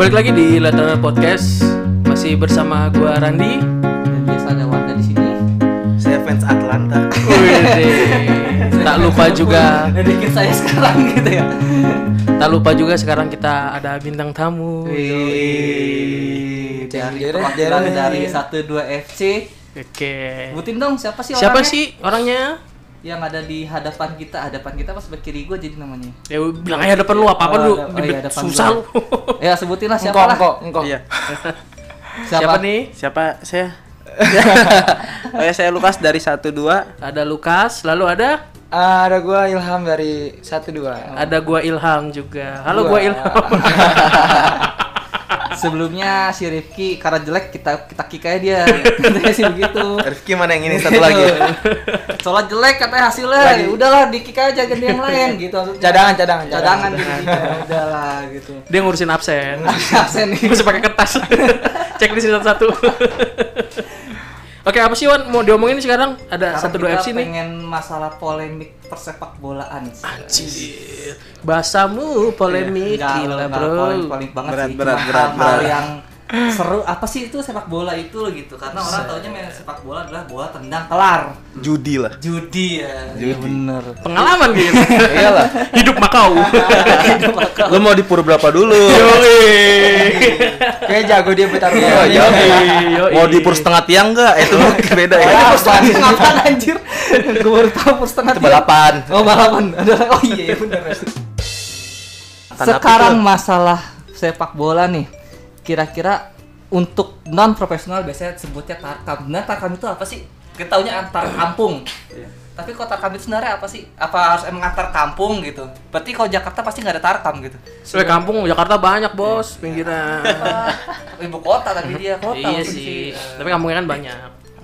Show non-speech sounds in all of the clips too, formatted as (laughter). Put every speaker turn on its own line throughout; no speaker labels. Balik lagi di Lata Podcast masih bersama gua Randi.
dan biasa ada Wanda di sini.
Saya fans Atlanta.
Widih. tak lupa
(laughs)
juga
Dedikin saya sekarang gitu ya.
tak lupa juga sekarang kita ada bintang tamu. iya,
Wih, dari
jeret,
perwakilan
jeret.
dari 12 FC.
Oke.
Sebutin dong siapa sih
Siapa
orangnya?
sih orangnya?
yang ada di hadapan kita? Hadapan kita pas sebelah kiri gue jadi namanya.
Ya bilang aja depan lu apa-apa
Oh,
lu.
ada- oh
Dibet-
iya, depan
susah
gua.
lu.
(laughs) ya sebutin lah siapa
Engkau,
lah.
engkau, engkau.
Iya.
Siapa?
Siapa?
nih?
Siapa saya? oh ya, saya Lukas dari 12.
Ada Lukas, lalu ada
Ah, ada gua Ilham dari
Oh.
12.
ada gua Ilham juga. Halo gua
Gua.
(laughs)
Ilham.
Sebelumnya si Rifki karena jelek kita kita kick aja dia. (laughs) Katanya sih begitu.
Rifki mana yang ini satu lagi?
Soalnya jelek katanya hasilnya. Ya udahlah di kick aja ganti yang lain gitu. maksudnya.
Cadangan, cadangan,
cadangan gitu. Ya Udahlah gitu.
Dia ngurusin absen.
Absen nih.
Masih pakai kertas. Cek di sini satu-satu. Oke, apa sih Wan mau diomongin sekarang? Ada
Sekarang
satu dua
kita
FC nih.
pengen masalah polemik persepak bolaan.
Anjir. Bahasamu polemik gila, Bro.
Iya, polemik banget
Berat,
sih.
berat,
Cuma
berat,
hal-hal
berat.
yang seru apa sih itu sepak bola itu loh gitu karena orang taunya main sepak bola adalah bola tendang kelar
Judi lah.
judi ya
Judi.
Iya, bener
Pengalaman gitu.
Iyalah.
Hidup Makau.
Lu mau dipur berapa dulu?
Kayak jago dia putar
Iya,
Oh,
bola.
yoi.
Yoi.
Mau dipur setengah tiang enggak? Itu mah
Iya,
beda ya.
Ini persetengah apaan, anjir gue baru tahu persetengah
Itu balapan.
oh balapan (laughs) oh iya bener sekarang masalah sepak bola nih kira-kira untuk non profesional biasanya sebutnya tarkam nah tarkam itu apa sih kita taunya antar kampung tapi kok tarkam itu sebenarnya apa sih apa harus emang antar kampung gitu berarti kalau Jakarta pasti nggak ada tarkam gitu
Soalnya kampung Jakarta banyak, Bos, pinggiran.
Iya ibu kota tapi dia kota
iya
maksudnya
sih.
Eh,
Tapi kampungnya kan banyak.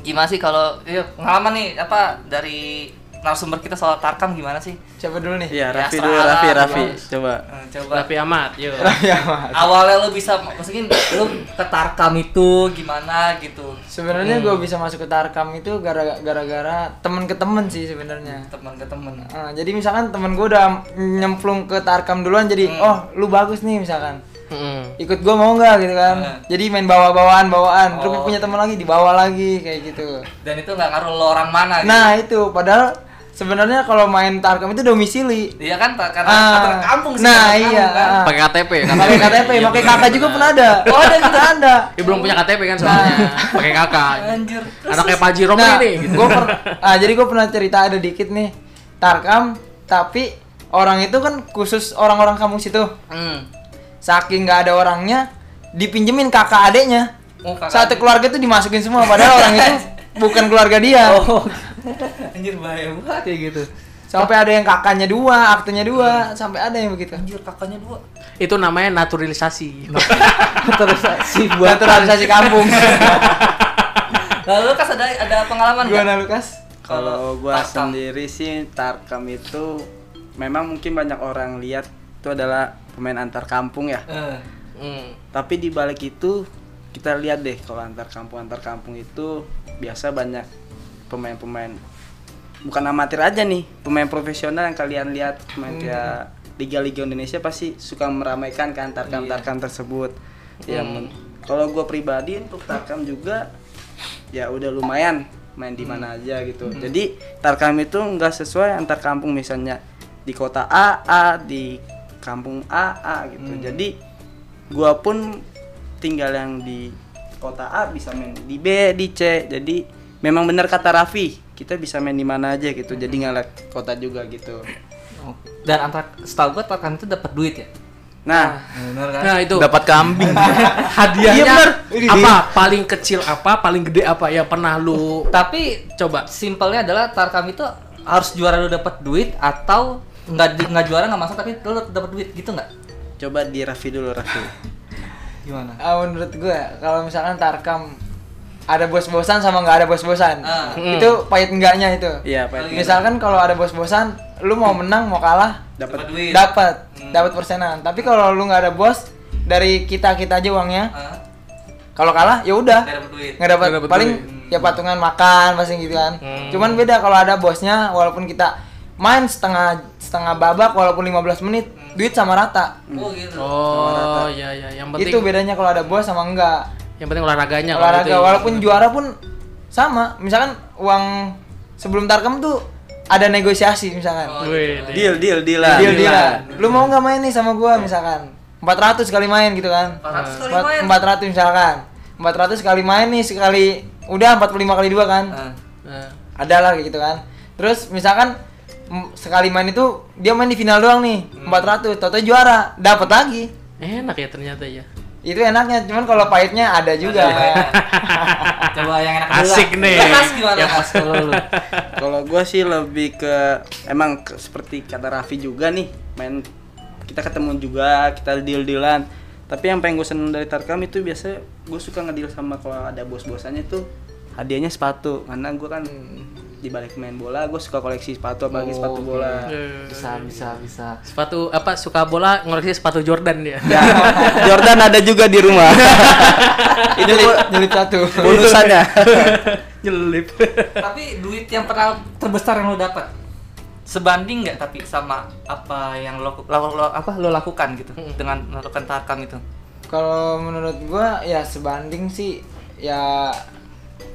gimana sih kalau iya, pengalaman nih apa dari narasumber kita soal tarkam gimana sih
Siapa dulu nih?
Iya, Raffi
Ya,
dulu,
salah,
Raffi,
Bang.
Raffi. Coba.
Eh, coba
Tapi amat, yuk.
Ya, Mas.
awalnya lu bisa maksudnya lu ke tarkam itu gimana gitu
Sebenarnya gua bisa masuk ke Tarkam itu gara- gara-gara temen ke temen sih sebenarnya.
teman ke teman
Ah, jadi misalkan temen gua udah nyemplung ke Tarkam duluan jadi oh lu bagus nih misalkan.
Heeh.
Ikut gua mau nggak gitu kan.
Ah.
Jadi main bawa-bawaan, bawaan.
Oh.
Lu punya temen lagi dibawa lagi kayak gitu.
dan itu nggak ngaruh lo orang mana gitu.
Nah, itu padahal sebenarnya kalau main Tarkam itu domisili.
iya kan ta- karena
Ah.
antar kampung sih
Nah,
antar kampung
iya,
kan.
ah.
Pakai KTP ya, kan?
Pakai KTP, pakai kakak juga pernah ada. Oh, ada kita ada.
Dia belum punya KTP kan soalnya. Pakai kakak.
anjir
Anaknya Pak Jirong
Nah,
ini gitu.
gua per- ah, jadi gue pernah cerita ada dikit nih. Tarkam, tapi orang itu kan khusus orang-orang kampung situ.
hmm.
Saking nggak ada orangnya, dipinjemin kakak adeknya.
Oh, kakak
Satu keluarga itu dimasukin semua padahal orang itu bukan keluarga dia.
oh anjir bahaya banget kayak gitu
Sampai ada yang kakaknya dua, aktenya dua, sampai ada yang begitu.
anjir kakaknya dua
Itu namanya naturalisasi.
Terus si (laughs) buat naturalisasi kampung.
lalu kas ada ada pengalaman nggak?
Gimana Lukas?
Kalau gua
tarkam.
sendiri sih Tarkam itu memang mungkin banyak orang lihat itu adalah pemain antar kampung ya.
Eh,
Hmm.
Tapi di balik itu kita lihat deh kalau antar kampung antar kampung itu biasa banyak pemain-pemain bukan amatir aja nih, pemain profesional yang kalian lihat pemain kayak liga-liga Indonesia pasti suka meramaikan kan tarkam-tarkam tersebut. Ya men- kalau gua pribadi untuk tarkam juga ya udah lumayan main di mana aja gitu. Jadi tarkam itu nggak sesuai antar kampung misalnya di kota A A di kampung A A gitu. Jadi gua pun tinggal yang di kota A bisa main di B di C. Jadi memang benar kata Raffi kita bisa main di mana aja gitu. Jadi nggak kota juga gitu.
oh. dan antar setahu gue tarkam itu dapat duit ya
Nah,
bener kan
Nah, itu
Dapat kambing.
(laughs) hadiahnya
Iya, bener.
apa? Paling kecil apa? Paling gede apa yang pernah lu
tapi
coba?
simpelnya adalah tarkam itu harus juara lu dapat duit atau nggak di- nggak juara nggak masuk tapi lu dapat duit gitu nggak
coba di Raffi dulu Raffi.
gimana
Ah, menurut gue kalau misalkan Tarkam ada bos-bosan sama nggak ada bos-bosan
Ah.
itu pahit enggaknya itu
Iya, Pak.
misalkan kalau ada bos-bosan lu mau menang mau kalah
Dapat
duit
dapat
Hmm.
dapat persenan tapi kalau lu nggak ada bos dari kita kita aja uangnya
Ah,
kalau kalah ya udah
nggak dapat duit
nggak dapat
Hmm.
paling ya patungan makan pasti gitu kan cuman beda kalau ada bosnya walaupun kita main setengah setengah babak walaupun 15 menit duit sama rata
Oh gitu.
Oh iya iya Hmm. yang penting
itu bedanya kalau ada bos sama enggak
yang penting olahraganya kalau
olahraga
itu ya.
walaupun juara pun sama misalkan uang sebelum tarkam tuh ada negosiasi misalkan
Wih,
Deal, deal, dealan.
deal dealan lu mau nggak main nih sama gua misalkan 400 kali main gitu kan
400 kali main.
Empat- 400 misalkan 400 kali main nih sekali udah 45 kali dua kan
Nah,
Nah,
ada lah kayak gitu kan terus misalkan m- sekali main itu dia main di final doang nih 400 toto juara dapat lagi
enak ya ternyata ya.
itu enaknya cuman kalau pahitnya ada juga
ya. coba yang enak dulu
Asik
lah.
nih.
Kas gimana kas kalau lu?
Kalau gua sih lebih ke emang ke- seperti kata Raffi juga nih, main kita ketemu juga, kita deal-dealan. Tapi yang pengen gue seneng dari Tarkam itu biasa gue suka ngedeal sama kalau ada bos-bosannya tuh hadiahnya sepatu karena gue kan
Hmm.
di balik main bola gue suka koleksi sepatu apalagi
Oh,
sepatu bola
Eh,
Bisa bisa bisa.
Sepatu apa suka bola ngoleksi sepatu Jordan dia.
Ya, Jordan ada juga di rumah itu bu-
nyelip satu
bonusannya
Nyelip.
tapi duit yang pernah terbesar yang lo dapat sebanding nggak tapi sama apa yang lo, lo- lo- apa lo lakukan gitu dengan melakukan tarkam itu
kalau menurut gua ya sebanding sih ya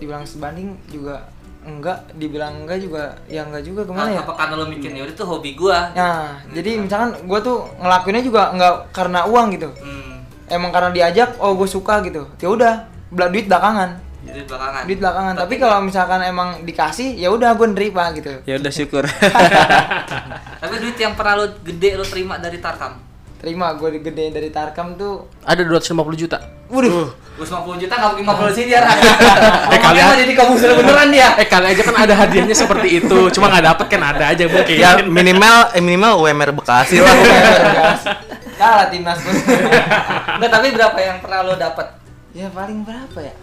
dibilang sebanding juga enggak dibilang enggak juga ya enggak juga kemana
Nah,
ya
apa karena lo mikir ya udah itu hobi gua
nah jadi misalkan gua tuh ngelakuinnya juga enggak karena uang gitu
hmm,
emang karena diajak oh gue suka gitu ya udah bela- duit belakangan
duit belakangan
duit belakangan tapi kalau misalkan emang dikasih ya udah gue nerima gitu
ya udah syukur
tapi duit yang pernah lo gede lo terima dari tarkam
terima gue gede dari Tarkam tuh
(laughs) (laughs) Ada 250 juta.
waduh
gue 50 juta nggak mungkin 50 sih
Eh,
dia eh,
kali
kalian
aja.
jadi kamu beneran dia
Eh kali aja kan ada hadiahnya seperti itu, cuma nggak dapet kan ada aja mungkin.
ya minimal eh, minimal UMR Bekasi lah
Iya. kalah timnas pun
nggak tapi berapa yang pernah lo dapat
ya paling berapa ya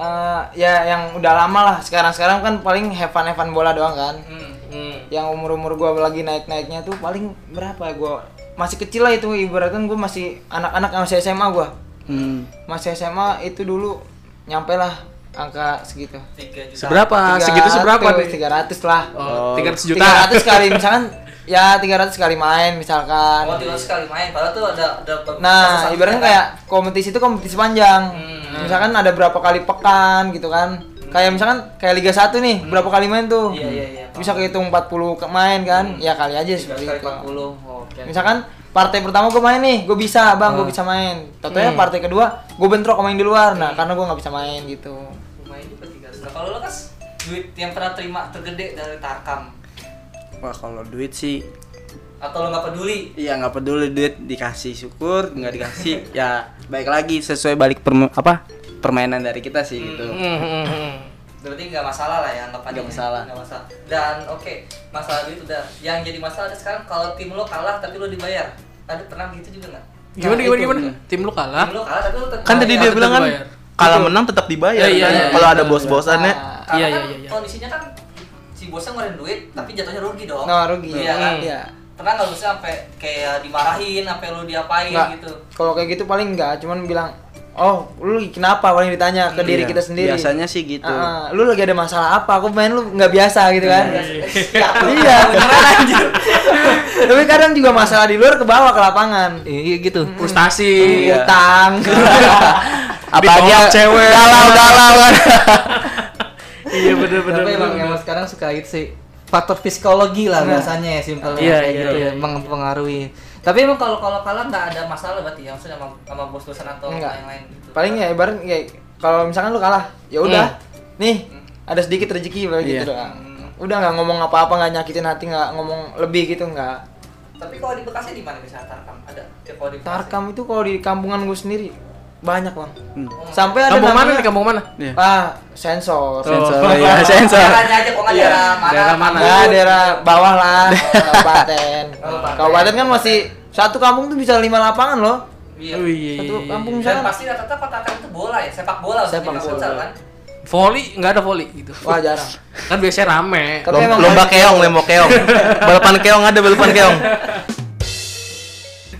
Eh, ya yang udah lama lah sekarang sekarang kan paling hevan hevan bola doang kan
hmm.
yang umur umur gue lagi naik naiknya tuh paling berapa ya gue masih kecil lah itu ibaratkan gue masih anak anak masih SMA gue
Hmm.
masih SMA itu dulu nyampe lah angka segitu
tiga juta
Seberapa? Ah, Segitu seberapa nih?
Tiga ratus lah.
Oh, 300 juta.
Tiga ratus kali misalkan, ya tiga ratus kali main misalkan.
Oh, tiga sekali main, padahal tuh ada ada
Nah,
satu- kan.
ibaratnya kayak kompetisi itu kompetisi panjang.
Hmm.
Misalkan ada berapa kali pekan gitu kan. Kayak misalkan kayak Liga 1 nih, berapa kali main tuh?
Hmm. Iya, iya, iya, paham.
Bisa kehitung 40 ke- main kan? Ya kali aja
tiga
seperti
kali
itu.
40. Oke.
Misalkan partai pertama gue main nih, gue bisa bang,
Hmm.
gue bisa main. Tentunya partai kedua gue bentrok sama yang di luar,
Hmm.
nah karena gue nggak bisa main gitu.
lumayan juga tiga Nah, kalau lo kas duit yang pernah terima tergede dari Tarkam
wah kalau duit sih
atau lo nggak peduli?
Iya nggak peduli duit dikasih syukur nggak dikasih
(laughs)
ya baik lagi sesuai balik perm- apa permainan dari kita sih gitu.
Hmm,
Berarti nggak masalah lah ya anggapannya.
Nggak masalah.
Nggak masalah. Dan oke, masalah duit udah. Yang jadi masalah ada sekarang kalau tim lo kalah tapi lo dibayar. Ada pernah gitu juga nggak?
Gimana gimana gimana? Tim lu kalah.
Tim lo kalah tapi lo Iya, tetap
kan tadi
dibayar.
dia bilang kan
dibayar.
kalah menang tetap dibayar
Iya, iya,
kan?
iya,
kalau
iya,
ada
iya.
bos-bosannya
Nah,
Karena
Iya,
kan
iya, iya.
kondisinya kan si bosnya ngeluarin duit tapi jatuhnya rugi dong.
Nah, rugi.
Iya kan?
Hmm. Iya.
Pernah nggak bosnya sampai kayak dimarahin, sampai lo diapain
Nggak.
gitu?
Kalau kayak gitu paling enggak, cuman bilang, "Oh, lu kenapa?" paling ditanya
Hmm.
ke diri
Iya,
kita sendiri.
Biasanya sih gitu.
Ah, ah, lu lagi ada masalah apa? Aku main lu nggak biasa gitu kan? iya. Tapi kadang juga masalah di luar ke bawah ke lapangan.
Iya gitu.
Frustasi.
Utang.
Iya,
Apalagi
Ditolak cewek.
galau galau kan.
(laughs) Iya bener bener.
Tapi emang emang sekarang suka gitu sih faktor psikologi lah biasanya ya simpelnya
Iya,
kayak
iya,
gitu
iya.
ya, mempengaruhi. Tapi emang kalau kalau kalah nggak ada masalah berarti ya maksudnya sama, sama bos dosen atau
Enggak.
yang lain gitu.
Paling ya ibarat kayak kalau misalkan lu kalah,
Hmm.
ya udah. Nih, ada sedikit rezeki ibarat
Iya.
gitu doang. Udah nggak ngomong apa-apa, nggak nyakitin hati, nggak ngomong lebih gitu nggak.
Tapi kalau di Bekasi di mana bisa tarkam? Ada ya, kalau di Bekasi.
Tarkam itu kalau di kampungan gue sendiri banyak bang.
Hmm.
Oh,
Sampai ada
Kampung mana
namanya-
nih? Kampung mana?
Iya.
Ah, sensor.
(laughs)
Sensor
Oh.
ya sensor.
Daerahnya aja kok nggak
Iya.
daerah mana?
Daerah mana?
Nah, daerah bawah lah, kabupaten.
Kabupaten.
kabupaten kan masih satu kampung tuh bisa lima lapangan loh.
Iya.
Oh, iya,
Satu
iya, iya.
kampung
Dan
misalkan.
pasti rata-rata tarkam itu bola ya, sepak bola maksudnya,
Sepak
nggak
bola.
futsal kan?
Volley nggak ada volley gitu.
Wah, jarang.
Kan biasanya rame.
(laughs)
Tapi
Lom-
emang
lomba
gitu.
paling-
keong lomba keong balapan keong ada balapan
(laughs)
keong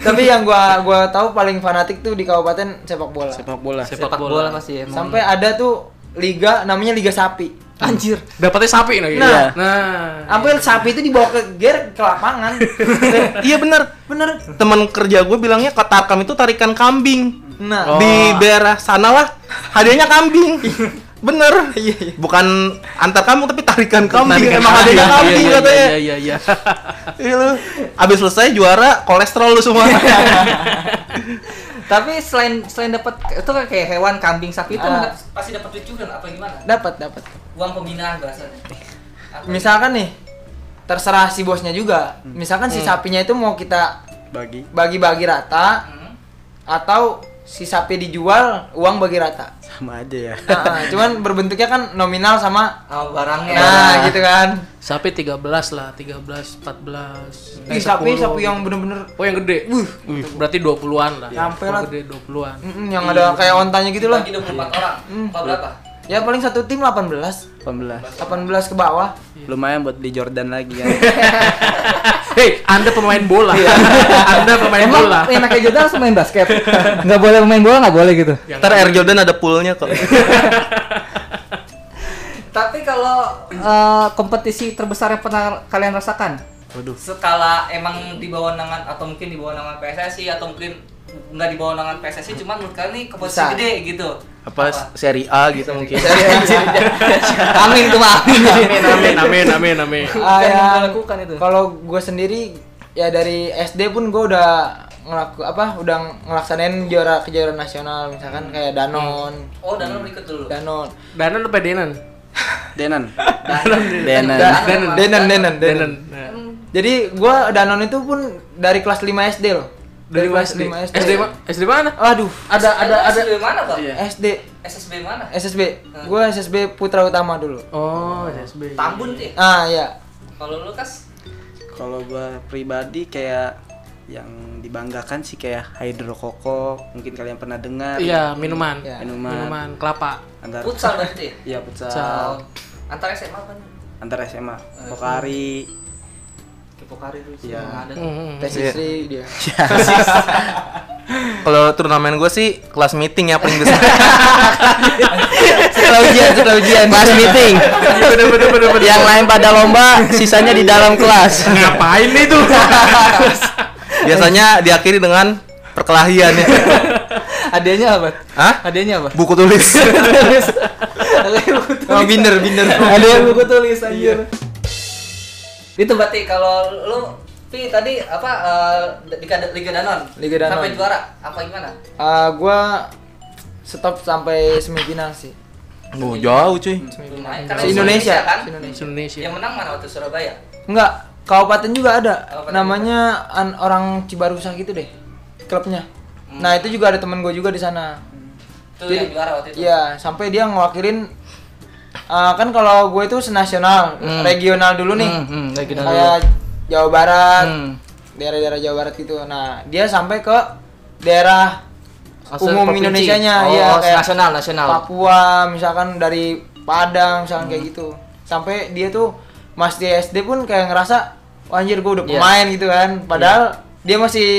Tapi yang gua gua tahu paling fanatik tuh di kabupaten sepak bola.
Sepak bola.
Sepak
Sepak
bola.
bola pasti emang.
Sampai ada tuh liga namanya Liga Sapi.
Anjir.
Dapatnya sapi lagi.
Nah.
nah.
Hampir sapi itu dibawa ke ger ke lapangan.
iya bener bener teman kerja gue bilangnya ke tarkam itu tarikan kambing
Oh.
Nah,
di daerah sana lah hadiahnya
(laughs)
kambing bener bukan antar kamu tapi tarikan kambing
Iya, Tarikan
emang hadiahnya kambing
kan Iya, iya,
katanya
Iya iya (laughs) iya.
iya lu abis selesai juara kolesterol lu
(laughs)
semua
Tapi selain selain dapat itu kan kayak hewan kambing sapi itu
Ah.
mendapat- pasti dapat duit juga atau gimana?
dapat dapat.
Uang pembinaan bahasanya. Apa?
Misalkan nih terserah si bosnya juga.
Hmm.
Misalkan si sapinya itu mau kita
bagi
bagi-bagi rata
Hmm.
atau si sapi dijual uang bagi
(laughs)
rata.
sama aja ya
Ah,
Nah, cuman berbentuknya kan nominal sama
Sama Oh, barangnya.
nah gitu kan.
Sapi 13 lah, 13, 14. eh,
Ih, sapi
10.
sapi yang bener-bener
Oh yang gede. Wih, berarti 20-an lah.
Sampai
Kalau
lah.
gede 20-an.
mm, yang ada kayak ontanya gitu loh. Hmm.
Bagi 24 orang. Apa berapa?
Ya paling satu tim 18,
18
18 ke bawah.
lumayan buat beli Jordan lagi kan
(laughs) Hei, Anda pemain bola.
Iya.
(laughs) anda pemain
Emang
bola.
yang pakai Jordan harus main basket. Nggak boleh main bola, nggak boleh gitu.
ntar Air Jordan ada poolnya kok
Tapi kalau eh, kompetisi terbesar yang pernah kalian rasakan? Waduh. Skala emang di bawah nangan atau mungkin di bawah nangan PSSI atau mungkin nggak di bawah nangan PSSI cuman menurut kalian ini kompetisi
Besar.
gede gitu.
apa seri A gitu mungkin (laughs)
amin itu (laughs) mah amin.
Amin amin amin amin amin.
Bukan
Ah, ya.
yang dilakukan itu.
Kalau gue sendiri ya dari SD pun gue udah ngelaku apa udah ngelaksanain juara kejuaraan nasional misalkan kayak Danon,
Oh, dan lo ikut dulu.
Danon,
Dana lu pedenan.
(laughs) Denan
Da-
Denan
Danon, Danon, Danon, Danon.
Denan. Nah.
Jadi gue Danon itu pun dari kelas 5 SD loh.
Dari kelas
lima
SD. SD ma- SD mana?
Aduh, ada ada ada Iya. Eh,
SSB mana, Bang?
SD,
SSB mana?
SSB.
Ah.
Gue SSB Putra Utama dulu.
Oh, SSB.
Tambun tuh. ya?
Ah ya.
Kalau lu kas
kalau gua pribadi kayak yang dibanggakan sih kayak hidrokoko mungkin kalian pernah dengar
Iya, minuman.
Ya.
minuman,
Minuman kelapa.
antar
futsal berarti. ya?
iya futsal
Futsal.
Antara SMA apa nih?
antar SMA Pokari
Kipokari dulu.
Iya.
Nggak ada.
Mm-mm.
Tes
Iya.
istri dia.
kalau turnamen gue sih kelas meeting ya paling besar (laughs)
Setelah ujian, setelah ujian.
Kelas meeting.
Iya, Bener bener bener bener.
Yang lain pada lomba, sisanya di dalam kelas.
Ngapain itu?
(laughs) biasanya diakhiri dengan perkelahian ya
Adanya apa?
Hah?
Adanya
(laughs)
apa?
buku tulis (laughs)
Oh, binder, binder.
Ada yang buku tulis anjir. Itu berarti kalau lu Pi tadi apa eh, di Liga- Liga Danon?
Liga Danon.
Sampai juara apa gimana?
Ah, gua stop sampai semifinal sih.
oh, jauh cuy
Lumayan
Se Indonesia
kan?
Se Indonesia.
Indonesia.
Yang menang mana waktu Surabaya?
Enggak, kabupaten juga ada.
Kabupaten
Namanya an- orang Cibarusah gitu deh. Klubnya. Nah, itu juga ada teman gue juga di sana.
Itu yang
Jadi-
juara waktu itu.
Iya, sampai dia ngewakilin ah, kan kalau gue itu senasional,
Hmm.
regional dulu nih. Kayak Jawa Barat,
Hmm.
daerah-daerah Jawa Barat gitu. Nah, dia sampai ke daerah
Maksudnya
umum
provinsi?
Indonesianya
Oh,
ya kayak
nasional, nasional.
Papua misalkan dari Padang misalkan kayak
Hmm.
gitu sampai dia tuh Mas di SD pun kayak ngerasa Wah, anjir gue udah
Iya.
pemain gitu kan padahal dia masih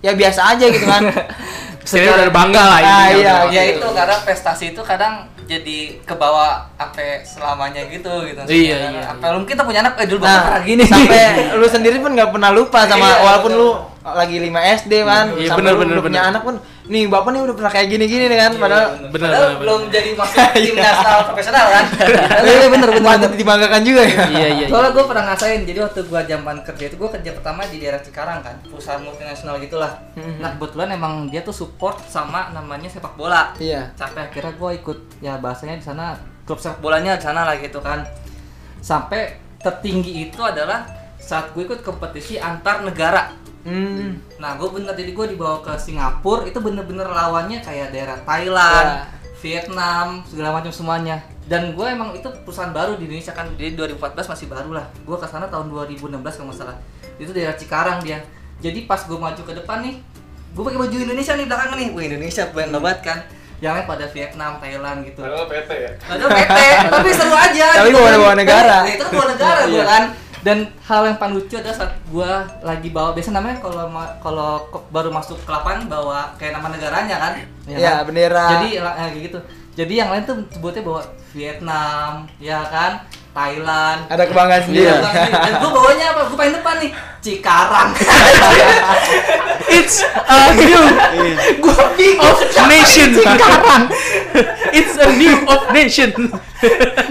ya biasa aja gitu
(laughs)
kan
Sekarang udah bangga lah
Ah,
intinya
iya,
udah.
Ya
gitu.
itu karena prestasi itu kadang jadi kebawa sampai selamanya gitu gitu.
Iya,
Karena
iya,
Sampai lu- kita punya anak eh dulu bakal
nah
pernah gini.
(laughs) sampai lu sendiri pun nggak pernah lupa sama
Iya,
walaupun
betul.
lu lagi 5 SD kan
Iya,
sampai
bener,
lu
bener,
udah punya
bener.
anak pun nih bapak nih udah pernah kayak gini gini nih kan padahal
Bener,
Padahal
bener,
belum jadi masuk timnas nasional profesional kan.
(laughs) (laughs) iya bener bener patut dibanggakan juga ya
Iya iya. iya.
Soalnya gue pernah ngasain, jadi waktu gue zaman kerja itu gue kerja pertama di daerah Cikarang kan, perusahaan multinasional gitulah.
Mm-hmm.
Nah kebetulan emang dia tuh support sama namanya sepak bola.
iya
Sampai akhirnya gue ikut ya bahasanya di sana klub sepak bolanya di sana lah gitu kan. Sampai tertinggi itu adalah saat gue ikut kompetisi antar negara.
hmm.
Nah gue bener jadi gue dibawa ke Singapura itu bener-bener lawannya kayak daerah Thailand,
Ya.
Vietnam segala macam semuanya. Dan gue emang itu perusahaan baru di Indonesia kan jadi 2014 masih baru lah. Gue ke sana tahun 2016 kalau nggak salah. Itu daerah Cikarang dia. Jadi pas gue maju ke depan nih, gue pakai baju Indonesia nih belakang nih. Wah Indonesia pengen
Hmm.
banget kan. Yang lain pada Vietnam, Thailand gitu.
(laughs)
Padahal PT ya. Padahal PT, tapi seru aja.
Tapi
gitu Iya, kan.
bawa-bawa negara.
Nah, Itu kan bawa negara gue kan. Dan hal yang paling lucu adalah saat gua lagi bawa biasa namanya kalau ma- kalau ke- baru masuk ke lapangan bawa kayak nama negaranya kan. kan?
Iya, bendera.
Jadi la- eh, kayak gitu. Jadi yang lain tuh sebutnya bawa Vietnam, ya kan? Thailand.
Ada kebanggaan sendiri.
Iya. Dan gua bawanya apa? Gua paling depan nih, Cikarang.
It's a new
Iya.
Oh,
of nation. It's a new of nation.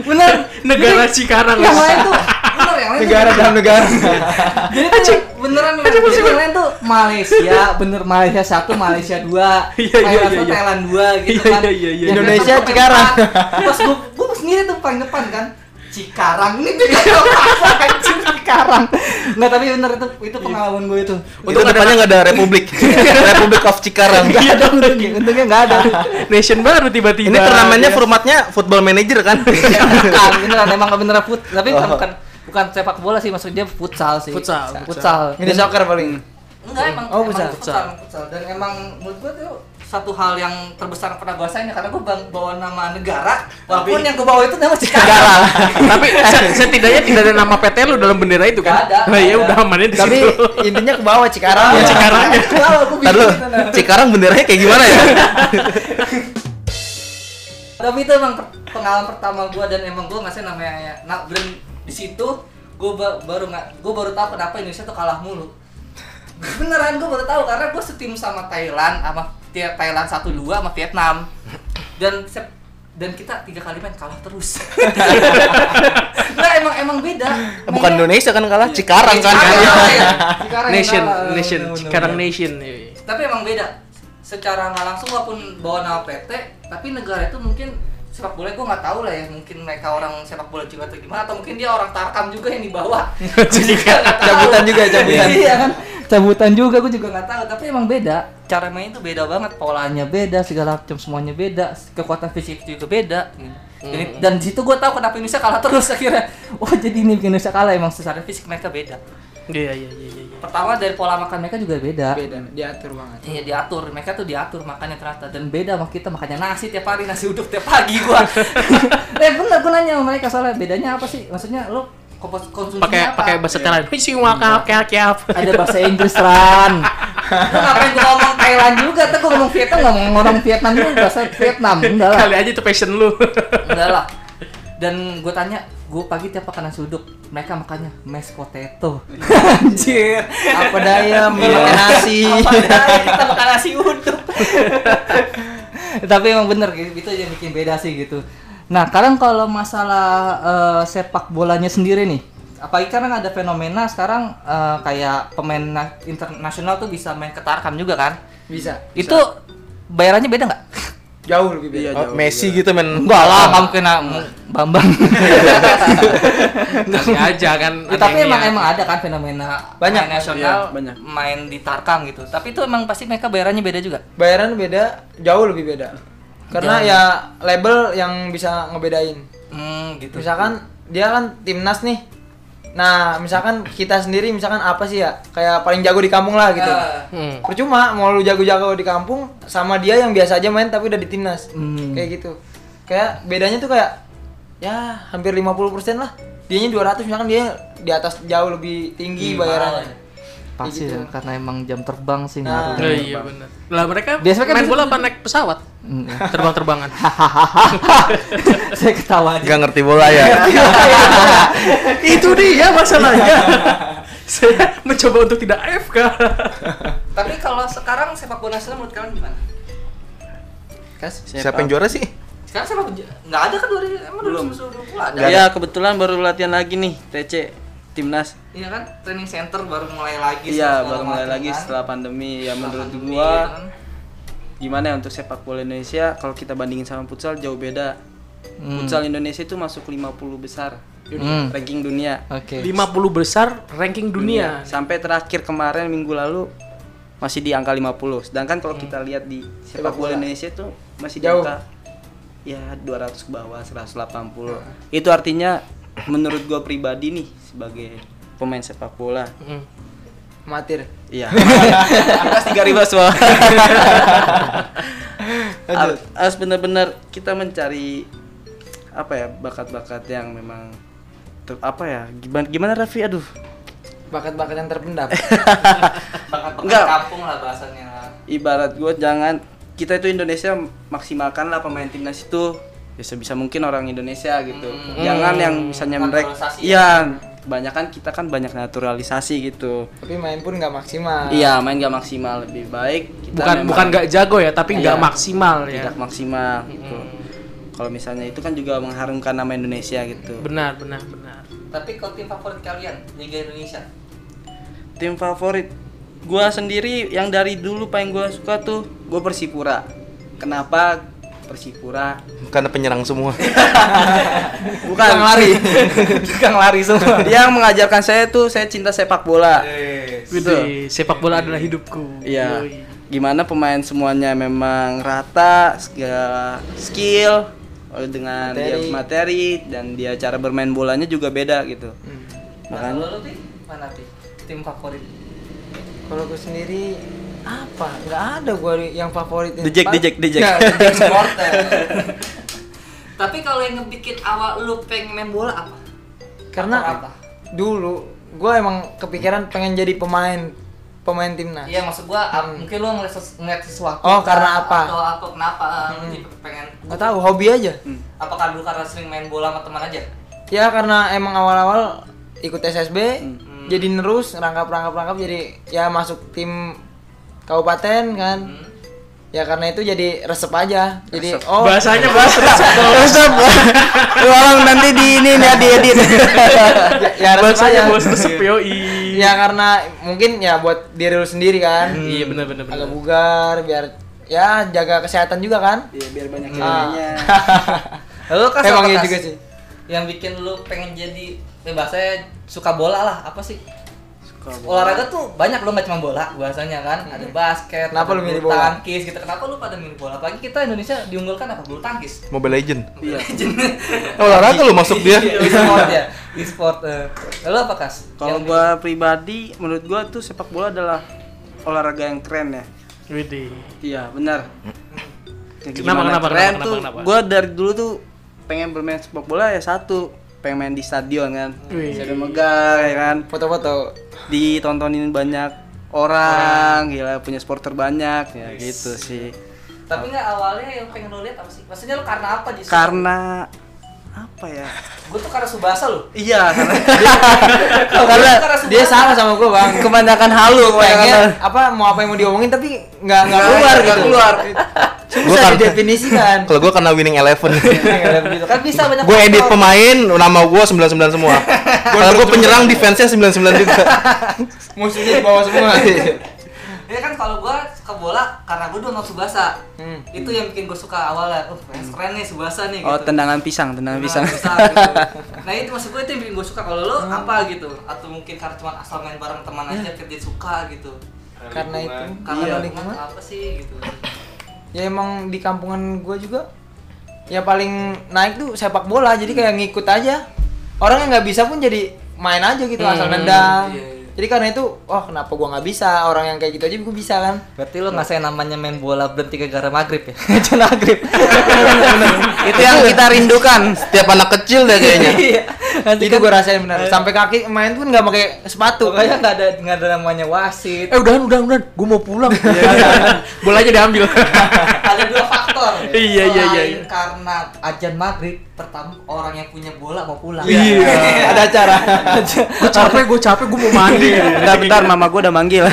Bener.
Negara
Jadi,
Cikarang.
Yang lain tuh bener, yang lain tuh
(laughs) Negara dalam negara.
Jadi tuh beneran jadi beneran tuh Malaysia bener Malaysia satu Malaysia dua
(laughs) Iya, iya,
Thailand
iya,
satu
iya.
Thailand dua gitu
Iya,
kan
iya, iya, iya.
Yang
Indonesia
depan tuh
Cikarang.
paling depan. Terus gua gua sendiri tuh paling depan kan Cikarang
(laughs)
ini Cikarang apa anjir Cikarang nggak tapi bener itu itu
Iya.
pengalaman gue itu
Untuk depannya nggak ada Republik. Republic of Cikarang.
ada untungnya untungnya nggak ada
Nation baru tiba-tiba.
Ini turnamennya
iya.
formatnya Football Manager kan?
bukan beneran emang nggak beneran fut tapi bukan
Oh.
bukan bukan sepak bola sih maksudnya futsal sih
Futsal,
futsal
Ini soccer paling.
Enggak emang
Oh,
emang
futsal.
itu futsal, emang futsal. Dan emang menurut gua tuh satu hal yang terbesar yang pernah gua rasain ya karena gua bang- bawa nama negara walaupun yang gua bawa itu nama Cikarang.
(laughs) Tapi se- setidaknya tidak ada nama PT lu dalam bendera itu kan?
Nggak ada,
Nah, ya
nggak ada.
udah amannya di
Tapi
situ.
intinya ke bawah Cikarang.
Ya, Cikarang.
Kenapa gua
Ntar lu,
bingung itu, nah.
Cikarang benderanya kayak gimana ya?
Tapi itu emang per- pengalaman pertama gua dan emang gua ngasih namanya nah, dan di situ gua ba- baru nggak gua baru tahu kenapa Indonesia tuh kalah mulu. (laughs) Beneran gua baru tahu karena gua setim sama Thailand sama Thai- Thailand 1 2 sama Vietnam. Dan sep- dan kita tiga kali main kalah terus. (laughs) nah emang emang beda.
Bukan
Mainnya-
Indonesia kan kalah, Cikarang kan.
Cikarang, ya. Cikarang yang
Nation,
kalah.
nation,
Bener-bener.
Cikarang nation. iya.
Tapi emang beda. Secara nggak langsung walaupun bawa nama PT, tapi negara itu mungkin sepak bola gue nggak tahu lah ya mungkin mereka orang sepak bola juga atau gimana atau mungkin dia orang tarkam juga yang (laughs) dibawa Jadi
Cabutan juga, cabutan.
(laughs) iya kan cabutan juga gue juga nggak tahu tapi emang beda cara main itu beda banget polanya beda segala macam semuanya beda kekuatan fisik juga beda Jadi- dan di situ gue tahu kenapa Indonesia kalah terus (laughs) akhirnya Hmm. oh jadi ini bikin Indonesia kalah emang secara fisik mereka beda
Iya, iya, iya, iya. iya.
pertama dari pola makan mereka juga beda
Beda, diatur banget.
Iya diatur, mereka tuh diatur makannya ternyata dan beda sama kita makannya nasi tiap hari nasi uduk tiap pagi
(laughs)
gua. eh bener gua nanya sama mereka soalnya bedanya apa sih? Maksudnya lu kompos- konsumsinya
Pakai
apa?
pakai bahasa Thailand. Wih, sing wakaf, kayak kayak apa.
Ada bahasa Inggris ran.
(laughs)
lu ngapain gua ngomong Thailand juga? Tuh gua ngomong Vietnam ngomong orang Vietnam dulu bahasa Vietnam enggak lah.
Kali aja itu passion
(laughs)
lu.
Enggak lah. Dan gue tanya, gue pagi tiap makan nasi uduk, mereka makannya mashed potato. (laughs) Anjir.
Apa daya makan nasi.
Iya. (laughs) Apa daya kita makan nasi uduk. (laughs) Tapi emang bener gitu, itu yang bikin beda sih gitu. Nah, sekarang kalau masalah eh, sepak bolanya sendiri nih, apalagi karena ada fenomena sekarang eh, kayak pemain na- internasional tuh bisa main ke Tarkam juga kan?
Bisa.
Itu bayarannya beda nggak?
Jauh lebih
Oh,
beda.
Messi gitu men.
Enggak lah, kamu kena mm, Bambang.
Kasih aja kan.
Ya, (laughs) tapi
anemia.
emang emang ada kan fenomena
Banyak.
pemain nasional
Iya, banyak.
main di Tarkam gitu. Tapi itu emang pasti mereka bayarannya beda juga.
Bayaran beda, jauh lebih beda. Karena
Jauh.
ya label yang bisa ngebedain.
Hmm, gitu.
misalkan dia kan timnas nih nah misalkan kita sendiri misalkan apa sih ya kayak paling jago di kampung lah gitu
Ah.
Hmm.
percuma mau lu jago-jago di kampung sama dia yang biasa aja main tapi udah di timnas
Hmm.
kayak gitu kayak bedanya tuh kayak ya hampir 50% lah dianya 200 misalkan dia di atas jauh lebih
Hmm,
tinggi bayarannya
pasti
gitu.
ya, karena emang jam terbang sih
Nah.
Nah,
ngaruh.
iya benar. Lah mereka
Biasanya kan
main
bisa-
bola apa naik pesawat?
Hmm. (laughs)
Terbang-terbangan.
(laughs) Saya ketawa aja.
Gak ngerti bola ya.
itu dia
(laughs)
masalahnya. Saya mencoba untuk tidak AFK.
Tapi kalau sekarang sepak bola nasional menurut kalian gimana?
Kas?
Siapa yang juara sih?
Sekarang sepak bola nggak ada kan dua emang dua
Belum.
ada.
Nggak ada.
Iya, kebetulan baru latihan lagi nih TC timnas.
Iya kan training center baru mulai lagi. setelah
Iya, baru mulai
latihan.
lagi setelah pandemi. Ya
Setelah
menurut
pandemi,
gua
gitu kan.
gimana ya untuk sepak bola Indonesia kalau kita bandingin sama futsal jauh beda. Futsal Indonesia itu masuk 50 besar
Hmm.
ranking dunia.
Oke.
50 besar ranking dunia.
Sampai terakhir kemarin minggu lalu masih di angka 50. Sedangkan kalau kita lihat di sepak bola Indonesia itu masih di
Jauh.
angka ya 200 ke bawah 180. Itu artinya menurut gua pribadi nih sebagai pemain sepak bola
Hmm.
amatir
(laughs)
Iya. Kita tiga ribu soal. Har- Harus benar-benar kita mencari apa ya bakat-bakat yang memang ter- apa ya gimana gimana Raffi aduh
Bakat-bakat yang
(laughs)
terpendam.
Enggak.
Bakat-bakat kampung lah bahasannya.
ibarat gue jangan kita itu Indonesia maksimalkan lah pemain timnas itu ya sebisa mungkin orang Indonesia gitu
Hmm.
jangan yang misalnya mereka
Naturalisasi
iya kebanyakan kita kan banyak naturalisasi gitu
Tapi main pun nggak maksimal. (laughs)
iya main gak maksimal lebih baik kita
bukan
memang
bukan nggak jago ya tapi nggak
Iya.
maksimal ya
tidak maksimal gitu kalau misalnya itu kan juga mengharumkan nama Indonesia gitu
benar benar benar
Tapi kalau tim favorit kalian Liga Indonesia?
tim favorit gua sendiri yang dari dulu paling gua suka tuh gua Persipura kenapa Persipura
Karena penyerang semua.
bukan lari
Tukang lari semua.
(laughs) yang mengajarkan saya tuh saya cinta sepak bola
Widih,
Betul.
sepak bola adalah hidupku
iya
Yoi.
gimana pemain semuanya memang rata segala skill lalu dengan dia
Materi.
materi dan dia cara bermain bolanya juga beda gitu
Mana
makanya
lu Pi? Mana Pi? Tim
(laughs)
favorit?
Kalau gue sendiri apa? Nggak ada gue yang favorit.
Dejek, dejek, dejek.
Nah,
(laughs)
Morten. Tapi kalau yang ngebikin awal lu pengen main bola apa?
Karena
Faktor apa?
dulu gue emang kepikiran pengen jadi pemain pemain timnas.
Iya maksud gua ah, mungkin lu ngeliat, ses- ngeliat sesuatu
Hmm. Oh, karena
kah?
apa? Hmm.
Atau apa kenapa ah, lu jadi pengen
Nggak tahu hobi aja.
Apakah lu karena sering main bola sama teman aja?
Ya karena emang awal-awal ikut SSB,
Hmm.
jadi nerus rangkap-rangkap-rangkap jadi ya masuk tim kabupaten kan.
Hmm.
Ya karena itu jadi resep aja. Jadi oh
bahasanya bahas resep dong.
(laughs) Tolong nanti di ini nih di edit.
(laughs) ya, ya resep
bahasanya
aja.
bahas resep yoi
Ya karena mungkin ya buat diri lu sendiri kan.
Hmm.
iya benar benar benar
Agak bugar biar ya jaga kesehatan juga kan.
Iya, biar banyak
Ah.
nilainya.
Lu kas apa,
Emang iya
Kas?
juga sih.
Yang bikin lu pengen jadi ya bahasanya suka bola lah apa sih?
Suka bola.
Olahraga tuh banyak lo nggak cuma bola bahasanya kan ada basket,
Hmm. Kenapa
ada
lu milih
bulu
bola?
Tangkis gitu. Kenapa lu pada milih bola? Apalagi kita Indonesia diunggulkan apa bulu tangkis.
Mobile Legend.
Iya.
Eh, olahraga lu masuk dia.
Iya,
(laughs)
e-sport ya, e-sport. eh. Lo apa kas?
Kalau
Yang-
gua pribadi, menurut gua tuh sepak bola adalah olahraga yang keren ya.
Widih.
Iya, benar. Ya,
Kenapa,
gimana
kenapa,
keren
kenapa,
tuh,
kenapa?
gua dari dulu tuh pengen bermain sepak bola ya satu, pengen main di stadion kan.
Wih.
Stadion megar ya kan.
Foto-foto.
Ditontonin banyak orang, gila punya supporter banyak ya gitu sih.
Tapi nggak awalnya yang pengen lo lihat apa sih? Maksudnya lo karena apa justru?
Karena apa ya?
Gue tuh karena subasa lo.
Iya, (laughs) karena
karena dia sama sama gue bang
kebanyakan halu, kebanyakan
pengen apa mau apa yang mau diomongin tapi nggak nggak
Nggak
keluar
nggak
gitu
keluar.
susah
Bukan.
iya.
didefinisikan
Kalau gua kena winning eleven. (laughs)
Kan bisa banyak.
gue edit
faktor.
pemain nama gua 99
(laughs)
semua. Kalau gua penyerang defense-nya 99 juga.
musuhnya di bawah semua
Ya kan kalau gue ke bola karena gue dulu sama subasa. Itu yang bikin gue suka awalnya. Oh keren nih subasa nih.
Hmm. Oh,
gitu.
tendangan pisang, tendangan
Nah,
pisang.
bisa, gitu. nah itu maksud gue itu yang bikin gue suka kalau lo apa gitu atau mungkin karena cuma asal main bareng teman
Iya.
aja kerja suka gitu
karena itu
karena
iya.
lo lingkungan apa sih gitu
ya emang di kampungan gue juga ya paling naik tuh sepak bola jadi kayak ngikut aja orang yang nggak bisa pun jadi main aja gitu asal nendang
iya, iya.
jadi karena itu oh kenapa gue nggak bisa orang yang kayak gitu aja gue bisa kan
berarti lo nggak saya namanya main bola berhenti gara maghrib ya (laughs) jangan maghrib
Itu yang kita rindukan. Iya.
Setiap anak kecil deh kayaknya.
itu gue rasain benar sampai kaki main pun nggak pakai sepatu
kan- Eh. pokoknya nggak ada nggak ada namanya wasit
eh udahan udahan udahan gue mau pulang (laughs) bolanya diambil
ada dua faktor
Eh,
Iya, iya, iya,
Selain
iya.
karena ajan maghrib pertama orang yang punya bola mau pulang
iya
ada acara
gue capek gue capek gue mau mandi
(laughs) bentar, bentar,
Iya.
mama gue udah manggil.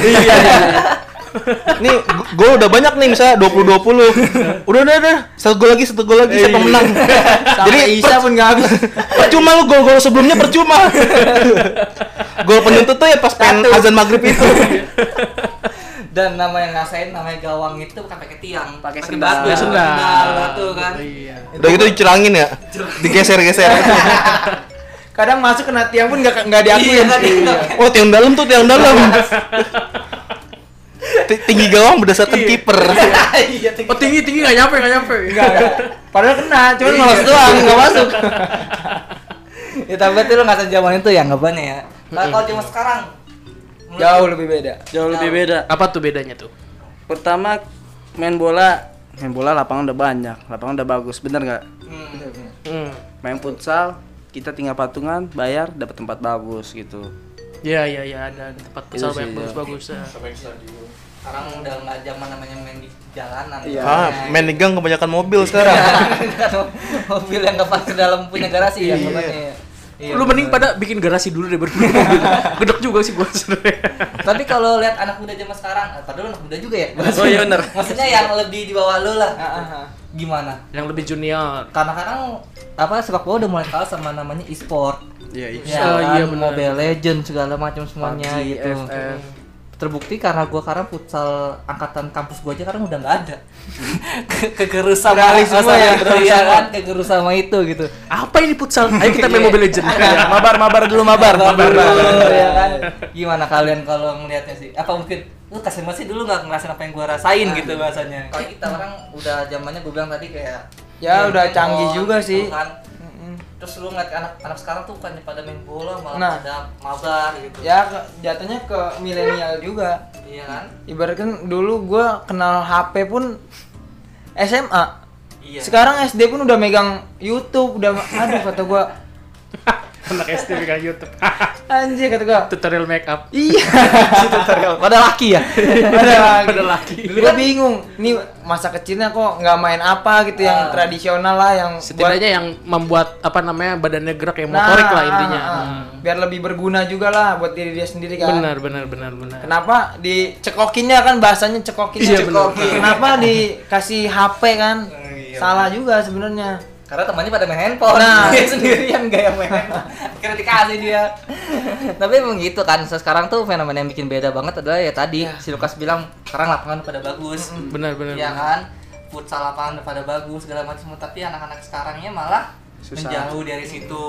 Nih, gue udah banyak nih misalnya 20 20. Udah udah udah. Satu gol lagi, satu gol lagi siapa menang. Jadi
Sampai Isya pun nggak habis.
percuma lu gol-gol sebelumnya percuma. gol penuntut tuh ya pas pengen azan maghrib itu.
dan nama yang ngasain namanya gawang itu bukan pakai tiang
Pakai sendal.
batu
Ya,
sendal.
sendal batu kan
iya
Udah gitu dicurangin ya. Digeser-geser.
Kadang masuk kena tiang pun nggak nggak diakuin.
Oh, tiang dalam tuh tiang dalam. Ti- Tinggi gawang berdasarkan kiper.
oh tinggi tinggi nggak nyampe nggak nyampe
Nggak, nggak. Padahal kena,
Iya.
cuman malas doang nggak masuk.
ya tapi berarti lo ngasain zaman itu ya anggapannya ya nah kalau zaman sekarang menurut
Jauh lebih beda.
Jauh lebih beda.
apa tuh bedanya tuh
Pertama main bola, main bola lapangan udah banyak, lapangan udah bagus, bener nggak?
Hmm.
hmm.
Main futsal, kita tinggal patungan bayar dapat tempat bagus gitu
Iya iya iya ada ada tempat
Itu
besar
sih,
banyak
iya.
bagus-bagus. ya.
sekarang udah nggak zaman namanya main di jalanan
Iya.
Ah, main di gang kebanyakan mobil sekarang.
mobil yang nggak pas ke dalam punya garasi ya iya.
Lu mending pada bikin garasi dulu deh berdua mobil. (laughs) Gedek juga sih gua sebenarnya.
tapi kalau lihat anak muda zaman sekarang eh, padahal anak muda juga ya
Oh, iya bener.
maksudnya yang lebih di bawah lu lah
Ah, ah, ah.
gimana
Yang lebih junior.
karena kadang apa sepak bola udah mulai kalah sama namanya e-sport
Iya,
ya,
Oh,
kan,
iya, benar.
Mobile Legend segala macam semuanya
PUBG,
gitu
FF.
terbukti karena gua sekarang futsal angkatan kampus gua aja sekarang udah nggak ada (laughs) Ke- kegerus sama
Beralih semua
sama-
ya,
iya kan kegerus sama itu gitu
Apa ini futsal? Ayo kita
(laughs)
main Mobile Legend.
Iya. mabar mabar dulu mabar mabar,
Dulu, ya kan? gimana kalian kalau ngelihatnya sih apa mungkin lu kasih masih dulu nggak ngerasain apa yang gua rasain gitu bahasanya kalau kita orang udah zamannya gua bilang tadi kayak
Ya,
handphone,
udah canggih juga
gitu
sih.
kan.
Iya.
terus lu ngeliat anak anak sekarang tuh bukannya pada main bola malah
Nah.
pada mabar gitu
ya ke- jatuhnya ke milenial juga
Iya kan?
ibaratkan dulu gua kenal HP pun SMA
Iya.
sekarang SD pun udah megang YouTube udah aduh kata gua
Anak SD megang YouTube.
anjir kata gua
(laughs) Tutorial make up.
iya
(laughs) Pada laki ya? Kan
ada
Pada
lagi
laki.
gua bingung nih masa kecilnya kok nggak main apa gitu
Ah.
yang tradisional lah yang
Setidaknya yang membuat apa namanya badannya gerak yang motorik lah intinya. Hmm.
ah, ah.
Hmm.
biar lebih berguna juga lah buat diri dia sendiri kan
Benar benar benar benar.
Kenapa dicekokinnya kan bahasanya cekokin
Iya,
cekokin.
bener.
Kenapa dikasih HP kan? Salah juga sebenarnya.
Karena temannya pada main handphone.
Nah.
(laughs) dia sendirian gak yang main handphone. Akhirnya dikasih dia. Tapi emang gitu kan. So, sekarang tuh fenomena yang bikin beda banget adalah ya tadi si Lukas bilang sekarang lapangan pada bagus.
Benar benar.
Iya
benar.
kan? Futsal lapangan udah pada bagus segala macam tapi anak-anak sekarangnya malah
Susah.
menjauh dari situ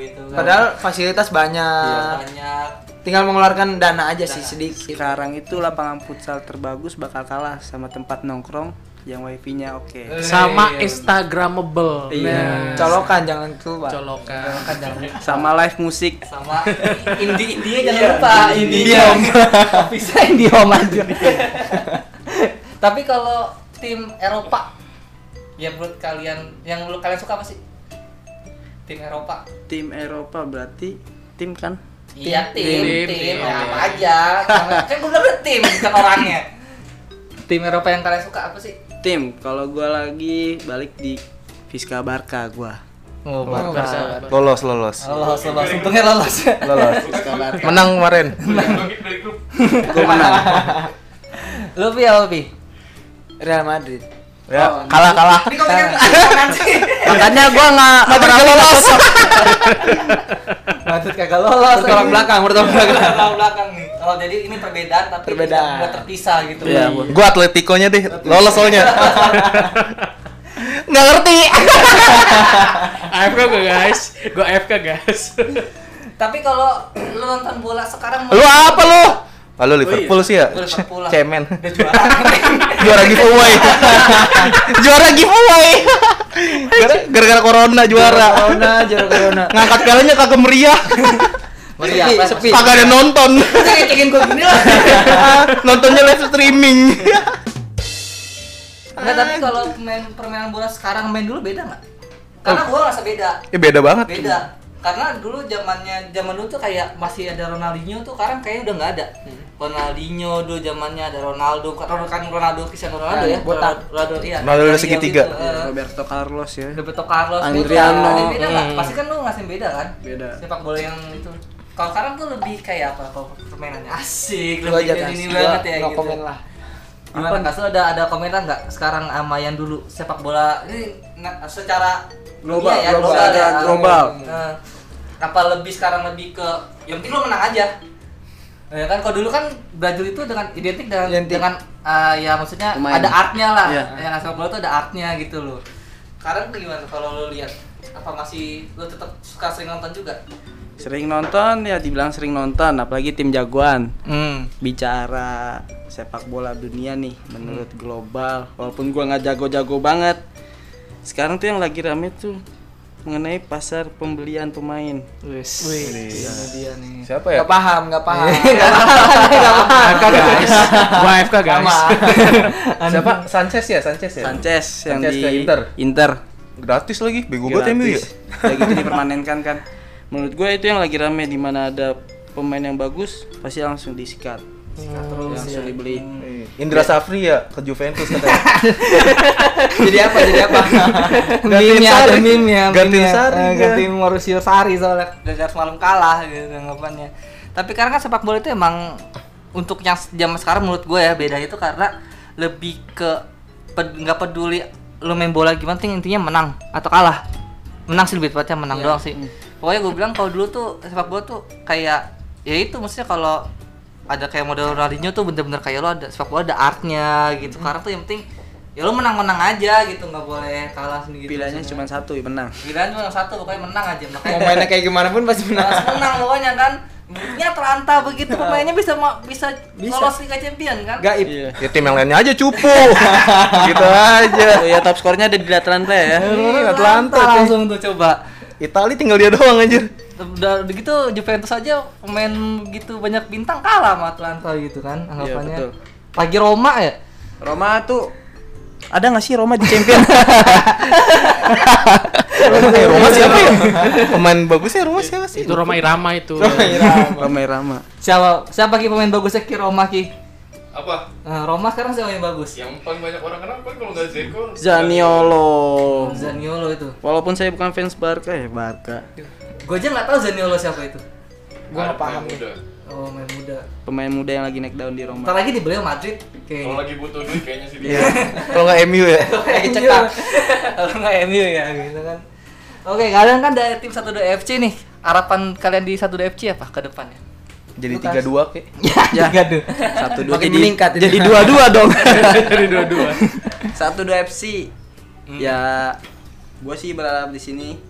gitu kan.
Padahal fasilitas banyak.
Iya, banyak
Tinggal mengeluarkan dana aja sih sedikit.
sekarang itu lapangan futsal terbagus bakal kalah sama tempat nongkrong yang wifi-nya oke
Eh.
Sama Instagramable.
Iya.
Nah,
Colokan jangan keluar.
colokan.
kan jangan
sama live
(laughs)
musik
sama Indi India jangan lupa India (laughs) bisa India aja tapi kalau tim Eropa ya menurut kalian yang menurut kalian suka apa sih tim Eropa
tim Eropa berarti tim kan
iya tim tim,
Tim. Oke.
ya, apa aja Karena- kan gue bilang tim bukan orangnya tim Eropa yang kalian suka apa sih
tim kalau gua lagi balik di Fiska Barca gua
oh
Barca.
(laughs)
(laughs)
Lolos, lolos.
lolos lolos untungnya lolos
Lolos. Menang kemarin.
gua
(laughs)
menang
lu pi apa pi
Real Madrid.
Ya, kalah, kalah.
tapi kok mikir pasangan sih
Makanya gua nggak pernah lolos.
Madrid kagak lolos
Bertolak belakang, bertolak belakang.
Bertolak (laughs) belakang nih kalau jadi ini perbedaan tapi
Perbedaan.
tidak terpisah gitu
Iya, Bu.
Gua Atletico-nya deh, lolos soalnya. (laughs) Nggak ngerti.
AFK gak guys? Gue AFK guys.
tapi kalau lu nonton bola sekarang
(laughs) Lu apa lu? Ah, lu Liverpool sih ya?
Gua Liverpool lah.
Cemen.
(laughs) udah juara
Juara giveaway. (laughs) juara giveaway. Gara- Gara-gara corona juara.
Corona, juara corona.
Ngangkat pialanya kagak meriah.
Beri apa
Sepi,
ya, sepi
Kagak ada nonton. (laughs)
cekin gua gini lah
Nontonnya live streaming. (laughs)
nggak tapi kalau main permainan bola sekarang main dulu beda nggak karena gua ngerasa beda
ya beda banget.
beda karena dulu zamannya zaman dulu tuh kayak masih ada Ronaldinho tuh sekarang kayak udah nggak ada
Hmm.
Ronaldinho dulu zamannya ada Ronaldo kan kan Ronaldo Cristiano Ronaldo ya
botak.
Ronaldo iya
Ronaldo udah segitiga.
gitu, eh.
Roberto Carlos ya
Roberto Carlos
Adriano.
beda, beda nggak? pasti kan lu ngasih beda kan
Beda.
sepak bola yang itu kalau sekarang tuh lebih kayak apa kalau permainannya asik lebih
Gua aja
kayak
kan.
ini
Gua
banget ya
no
gitu
comment lah.
gimana nggak Sul, ada ada komentar nggak sekarang sama yang dulu sepak bola ini na- secara iya ya,
Global,
dunia
global, ada global.
Eh, apa lebih sekarang lebih ke yang penting lu menang aja Ya kan kalau dulu kan Brazil itu dengan identik dengan
Identik.
dengan eh, ya maksudnya
Pemain.
ada artnya lah.
Iya.
Yang sepak bola tuh ada artnya gitu loh. Sekarang tuh gimana kalau lu lihat apa masih lu tetap suka sering nonton juga?
sering nonton ya dibilang sering nonton apalagi tim jagoan
Hmm.
bicara sepak bola dunia nih menurut global walaupun gua nggak jago-jago banget sekarang tuh yang lagi rame tuh mengenai pasar pembelian pemain
Siapa
Gak paham,
(laughs)
gak paham.
AFK guys. Gue AFK guys.
Siapa? Sanchez ya, Sanchez ya.
Sanchez yang
Sanchez
di
ke Inter.
Inter
gratis lagi bego banget MU ya
(laughs) gratis. Udah gitu dipermanenkan kan. Menurut gue itu yang lagi rame di mana ada pemain yang bagus pasti langsung disikat. iya. langsung dibeli.
Indra Safri ya ke Juventus katanya
(laughs) jadi apa jadi apa
(laughs) meme ya, ada meme ya,
Gantiin Sari,
Ah,
Eh,
ya.
gantiin Mauricio Sari soalnya dari harus malam kalah gitu anggapannya. Tapi karena kan sepak bola itu emang untuk yang zaman sekarang menurut gue ya bedanya itu karena lebih ke ped- nggak peduli lo main bola gimana, penting intinya menang atau kalah. Menang sih lebih tepatnya menang doang sih. Pokoknya gue bilang kalau dulu tuh sepak bola tuh kayak ya itu maksudnya kalau ada kayak model Ronaldinho tuh bener-bener kayak lo ada sepak bola ada artnya gitu. Karena tuh yang penting ya lo menang-menang aja gitu nggak boleh kalah sendiri.
Pilihannya cuma satu, ya menang.
Pilihan cuma satu pokoknya menang aja makanya
mau mainnya kayak gimana pun pasti menang
harus menang pokoknya kan. Buktinya Atlanta begitu pemainnya bisa ma- bisa, lolos Liga Champion kan?
gaib
Iya.
ya tim yang lainnya aja cupu (laughs) gitu aja
Oh ya top skornya ada di Atlanta ya.
Ih,
Atlanta, cuy.
langsung tuh coba.
Itali tinggal dia doang anjir
Udah begitu Juventus aja pemain gitu banyak bintang kalah sama Atlanta gitu
Iya,
kan anggapannya.
betul.
Lagi Roma ya?
Roma tuh ada nggak sih Roma di (laughs) champion?
(laughs)
eh, Roma siapa ya pemain bagusnya Roma siapa sih
Itu Roma Irama itu.
Roma Roma.
Siapa siapa ki pemain bagusnya ki Roma ki?
Apa?
Nah, Roma sekarang siapa yang bagus?
Yang paling banyak orang kenal kan kalau nggak Zeko
Zaniolo.
Zaniolo itu.
Walaupun saya bukan fans Barca ya Barca.
Gue aja nggak tahu Zaniolo siapa itu.
Gue nggak paham muda.
Oh, main muda.
Pemain muda yang lagi naik daun di Roma.
Ntar lagi dibeli sama Madrid
Kalau
kayaknya.
lagi butuh duit kayaknya sih
Iya,
iya.
dia
kalau nggak MU ya
Lagi cetak. Kalau nggak MU ya gitu kan. Oke, kalian kan dari tim 12 FC nih. Harapan kalian di 12 FC apa ke ya? depannya?
jadi tiga dua kek
Ya.
gaduh.
Satu dua
makin
jadi
meningkat ini.
jadi dua dua dong.
(laughs) Dari dua-dua.
Satu dua FC. Ya gua sih berharap di sini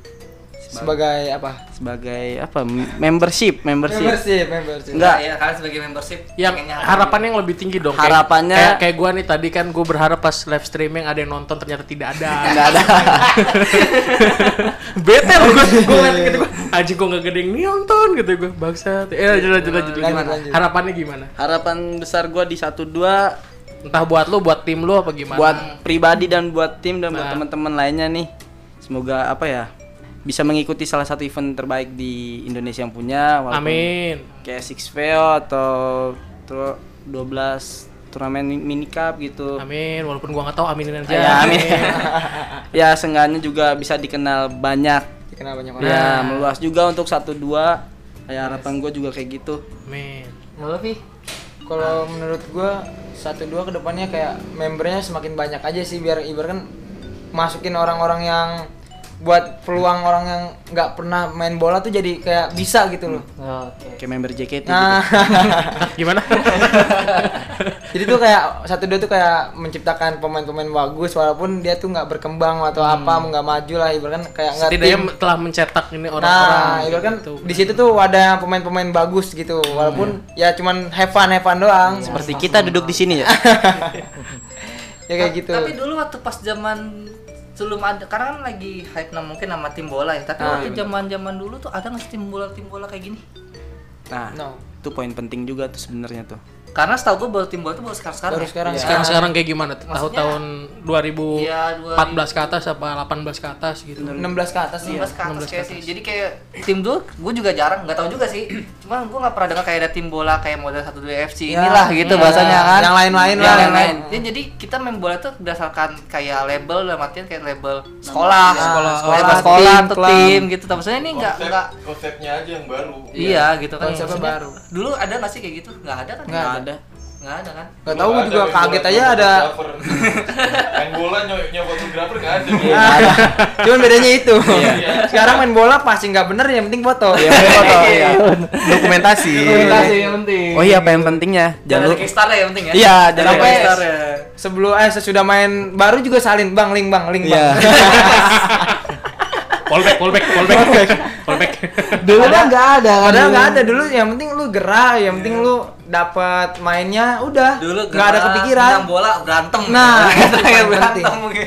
sebagai apa
sebagai apa membership membership Iya.
membership membership
Enggak.
Ya, kalian sebagai membership
Yang
pengennya apa?
harapannya yang lebih tinggi dong. kayak-
Harapannya-
kayak, kayak gua nih tadi kan gua berharap pas live streaming ada yang nonton ternyata tidak ada. (laughs)
nggak ada
Bete loh gua. Gua ngeliat gitu gua. Anjing gua enggak gede yang nonton gitu gua. Bangsa. Eh lanjut lanjut lanjut
Lanjut,
gimana?
lanjut.
Harapannya gimana?
harapan besar gua di satu dua
Entah buat lu, buat tim lu apa gimana?
buat pribadi dan buat tim dan buat
Nah.
teman-teman lainnya nih semoga apa ya bisa mengikuti salah satu event terbaik di Indonesia yang punya walaupun
Amin.
kayak six VO atau tur- 12 turnamen mi- mini cup gitu
Amin, walaupun gua nggak tahu aminin aja.
ya amin ya seenggaknya juga bisa dikenal banyak
dikenal banyak orang
ya meluas juga untuk satu dua ya harapan gue juga kayak gitu
Amin.
Ya, lo, Fi.
kalau menurut gua satu dua kedepannya kayak membernya semakin banyak aja sih biar ibarat kan masukin orang-orang yang buat peluang orang yang nggak pernah main bola tuh jadi kayak bisa gitu loh
Oke.
kayak member JKT gitu.
nah (laughs)
(laughs)
Gimana?
jadi tuh kayak satu dua tuh kayak menciptakan pemain-pemain bagus walaupun dia tuh nggak berkembang atau apa nggak maju lah ibarat kan kayak nggak
Setidaknya
tim.
telah mencetak ini orang-orang.
Nah, itu
gitu.
kan di situ tuh ada pemain-pemain bagus gitu, walaupun ya cuman have fun, have fun doang.
seperti kita duduk di sini ya
Ya kayak gitu.
Tapi dulu waktu pas zaman sebelum ada karena kan lagi hype nah mungkin nama tim bola ya. Tapi waktu zaman-zaman dulu tuh ada nggak sih tim bola tim bola kayak gini?
nah
No.
itu poin penting juga tuh sebenarnya tuh
Karena setahu gue baru tim bola tuh baru sekarang-sekarang.
Baru
ya.
iya.
sekarang.
Sekarang-sekarang kayak gimana? Tahu tahun 2014
Iya, 2000.
ke atas apa 18 ke atas gitu.
16 Iya, ke atas sih.
16 ke atas kayak sih. ya. Jadi kayak tim dulu gue juga jarang, nggak tahu juga sih. Cuman gue nggak pernah dengar kayak ada tim bola kayak model 1-2 FC inilah gitu bahasanya kan.
Ya, iya. Yang lain-lain
Yang
lah.
lain-lain. Ya, jadi kita main bola tuh berdasarkan kayak label dalam artian kayak label sekolah, sekolah,
sekolah,
label sekolah
tim,
atau
klub.
tim gitu. Tapi maksudnya ini nggak
Konsep,
nggak
konsepnya aja yang baru
iya gitu kan.
Konsepnya
Maksudnya,
baru.
Dulu ada nggak sih kayak gitu? Nggak ada kan?
nggak ada
Nggak ada kan?
Gak tau gue juga kaget aja ada.
Main bola nyoba nyoba fotografer nggak ada dulu.
Cuman bedanya
(laughs)
itu. Sekarang main bola pasti nggak bener, yang penting foto. Iya, foto.
dokumentasi
Komunikasi yang penting.
oh iya apa yang pentingnya
Jangan
jalur
ada Kickstarter ya yang penting ya.
iya jalur
Kenapa ya?
Kickstarter.
Sebelum eh sesudah main baru juga salin bang, link bang, link bang.
Iya.
Polback, polback, polback. Polback.
Dulu kan nggak ada. Padahal nggak
(laughs)
ada dulu. Yang penting lu gerah, yang penting
Iya.
lu dapat mainnya, udah.
Dulu
nggak ada
gerak,
kepikiran.
tendang bola berantem.
Nah,
(laughs)
(laughs) itu
kayak
paling
berantem
penting. (laughs)
mungkin.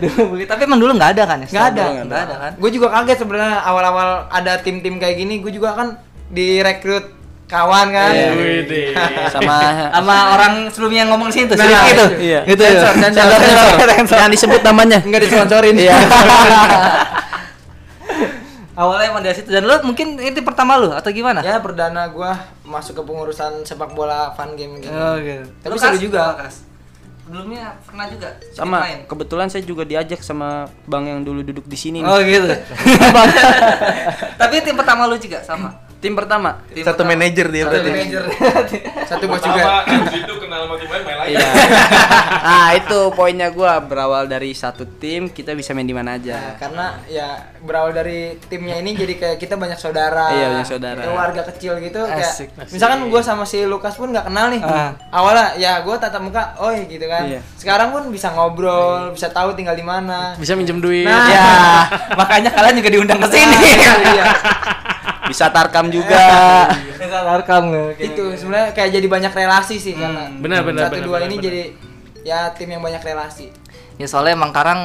dulu mungkin. Tapi emang dulu nggak ada kan ya?
Nggak ada.
Nggak ada kan?
Gue juga kaget sebenarnya awal-awal ada tim-tim kayak gini, gue juga kan direkrut kawan kan
Iya.
Wih, deh.
(laughs) sama
sama orang sebelumnya yang ngomong di sini tuh,
Nah,
Sri Rifki tuh.
iya.
Gitu ya.
Sensor, sensor, sensor. Jangan disebut namanya.
nggak disponsorin
Iya.
Awalnya emang dari situ dan lu mungkin itu pertama lu atau gimana?
ya perdana gua masuk ke pengurusan sepak bola fun game gitu
Oh, gitu.
Tapi
Lu,
seru
Kas?
juga.
Oh, Kas. Sebelumnya pernah juga sedikit
sama
(laughs)
main?
kebetulan saya juga diajak sama bang yang dulu duduk di sini nih.
Oh gitu. Tapi tim pertama lu juga sama.
tim pertama
Tim
Satu
pertama.
manajer dia
Satu
berarti.
manajer.
satu bos
Pertama
juga
abis itu kenal sama tim lain main
(laughs)
lagi.
Iya. nah itu poinnya gua berawal dari satu tim kita bisa main di mana
Nah,
aja
karena ya berawal dari timnya ini jadi kayak kita banyak saudara
Iya, banyak saudara.
keluarga kecil gitu
Asik,
kayak misalkan gue sama si Lukas pun nggak kenal nih
Ah.
awalnya ya gue tatap muka oh gitu kan
Iya.
sekarang pun bisa ngobrol bisa tahu tinggal di mana
Bisa minjem duit.
Nah.
Iya.
Iya.
(laughs)
Ya, makanya kalian juga diundang ke sini.
(laughs) iya
bisa tarkam juga
Kita rekam
itu sebenarnya kayak jadi banyak relasi sih karena
benar, benar,
satu
benar,
dua
benar,
ini
benar.
jadi ya tim yang banyak relasi
(laughs) Ya soalnya emang karang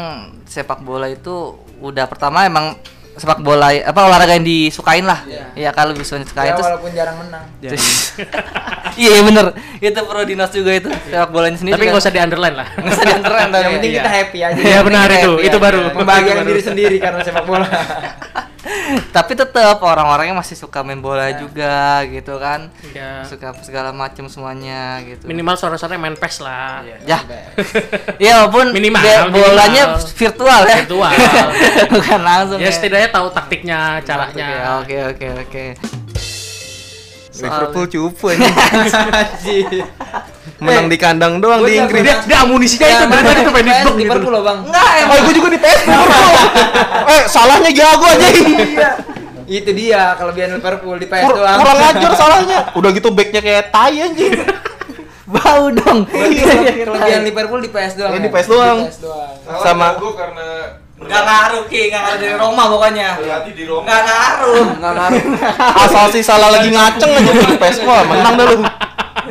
sepak bola itu udah pertama emang sepak bola apa olahraga yang disukain lah.
Iya.
Iya kalau bisa
ya,
disukain terus
walaupun jarang menang
(laughs) Iya iya, bener itu pro dinas juga itu sepak bolanya sendiri.
Iya. Tapi
kan.
nggak usah di underline lah.
(laughs) nggak usah diantar
yang penting kita happy aja
(laughs)
Iya benar itu,
Iya,
itu baru.
gitu
membahagiakan
kan?
Itu baru.
diri
(laughs)
sendiri karena sepak
(laughs)
bola
Tapi tetap orang-orangnya masih suka main bola juga gitu kan.
Iya.
Suka segala macam semuanya gitu.
Minimal sore-sore main PES lah.
Ya. Iya walaupun
Minimal,
dia- bolanya
minimal.
virtual ya.
Virtual.
(laughs) Bukan langsung.
(laughs) Ya setidaknya tahu taktiknya, caranya. Iya,
Ya, Oke oke oke.
Liverpool cupu
(laughs)
ini. Menang di kandang doang
gua
di
juga
Inggris.
pernah-
Dia amunisinya itu
mana
benar itu pengen dibom
PS di
gitu.
Iya, Liverpool loh bang
Enggak emang.
Oh, gue juga di PS Liverpool. eh, salahnya jago aja.
itu dia kelebihan Liverpool di PS
Kur-
doang
kurang ajar salahnya. Udah gitu backnya kayak tai anjing.
Bau dong.
Iya,
Iya,
kelebihan Liverpool di PS doang
Ini
ya?
Iya, di PS doang.
PS doang
Sama.
gue karena
Enggak ngaruh Ki, enggak ngaruh dari Roma pokoknya.
berlatih di
Enggak
Roma.
ngaruh.
Asal sih salah lagi ngaceng aja di PS gua menang dah lu.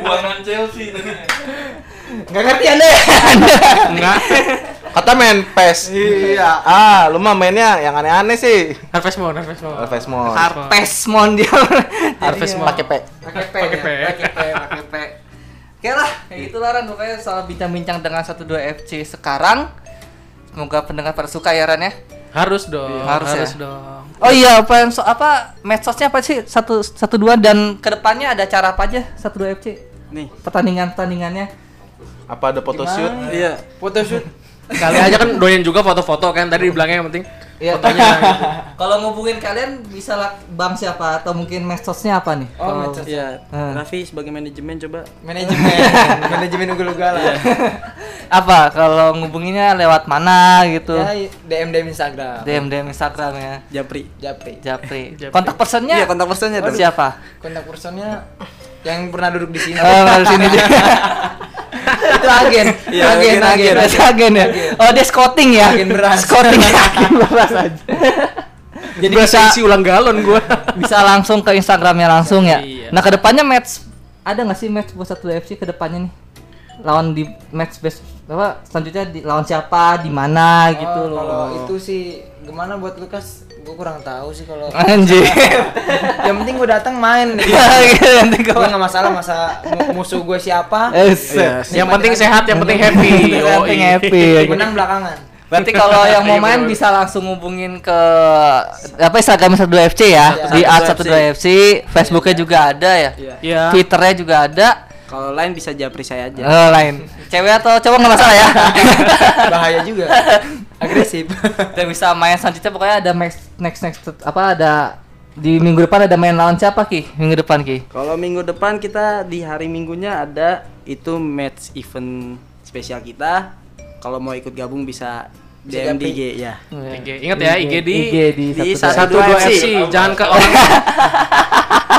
Buangan Chelsea tadi.
nggak ngerti anda
Enggak.
Kata main PES. Iya. Ah, lu mah mainnya yang aneh-aneh sih.
Harvest Moon, Harvest Moon.
Harvest Moon.
Harvest Moon dia.
Harvest Moon.
Pakai P.
pakai P
Pakai P.
ya? pakai P pakai P
Oke lah, kayak gitu lah Ran pokoknya soal bincang-bincang dengan 12 FC sekarang. Semoga pendengar pada suka ya Ran ya.
Harus dong,
Harus
harus,
ya.
dong.
Oh iya, apa yang so, apa medsosnya apa sih? Satu satu dua dan kedepannya ada acara apa aja? Satu dua FC
nih
pertandingan pertandingannya.
Apa ada photoshoot?
iya
photoshoot
Kali aja kan doyan juga foto-foto kan tadi dibilangnya yang penting
Iya.
fotonya. gitu.
Kalau ngubungin kalian bisa lah bang siapa atau mungkin medsosnya apa nih?
Oh,
Kalau-
medsos.
iya
Hmm.
Ah.
Raffi sebagai manajemen coba
(laughs)
manajemen manajemen
Iya,
ugal-ugalan
apa kalau ngubunginnya lewat mana gitu?
ya DM DM Instagram
DM DM Instagram ya.
Japri
Japri
(laughs) Japri.
Japri.
Kontak personnya?
Iya, kontak personnya tuh.
siapa?
kontak personnya yang pernah duduk di Eh, sini
Eh,
Oh, (laughs) dari sini dia.
itu agen
Iya,
agen
agen,
agen
Dari agen ya. Oh, dia scouting ya.
Agen beras.
Scouting ya, agen beras aja. Jadi bisa
Isi ulang galon gua.
bisa langsung ke Instagramnya langsung ya.
Iya.
Nah, kedepannya match ada nggak sih match buat satu FC kedepannya nih? Lawan di match best apa selanjutnya di, lawan siapa di mana gitu
Oh,
loh.
kalau itu sih gimana buat Lukas gue kurang tahu
(laughs)
sih kalau
Anjir.
yang penting gue datang
(laughs)
main
Gitu, nanti
gue
gua-
nggak masalah masa mu- musuh gue siapa
Eh,
yang penting sehat, yang penting happy.
Yang penting
Yoi.
happy.
menang belakangan
Berarti
(laughs)
kalau yang mau
Iya,
main
bener-bener.
bisa langsung ngubungin ke apa Instagram 12 FC ya, di @12 FC, Facebooknya juga ada ya,
Iya.
Twitternya juga ada,
kalau lain bisa Japri saya aja
Eh, lain. Cewek atau cowok nggak masalah ya.
bahaya juga agresif
Dan bisa main selanjutnya pokoknya ada next next next apa ada di minggu depan ada main lawan siapa ki? Minggu depan ki?
kalau minggu depan kita di hari minggunya ada itu match event spesial kita kalau mau ikut gabung bisa DM
Japri.
di IG ya
IG. Ingat ya IG di
IG di
di
12
satu-
satu dua
FC.
FC. Jangan ke orang.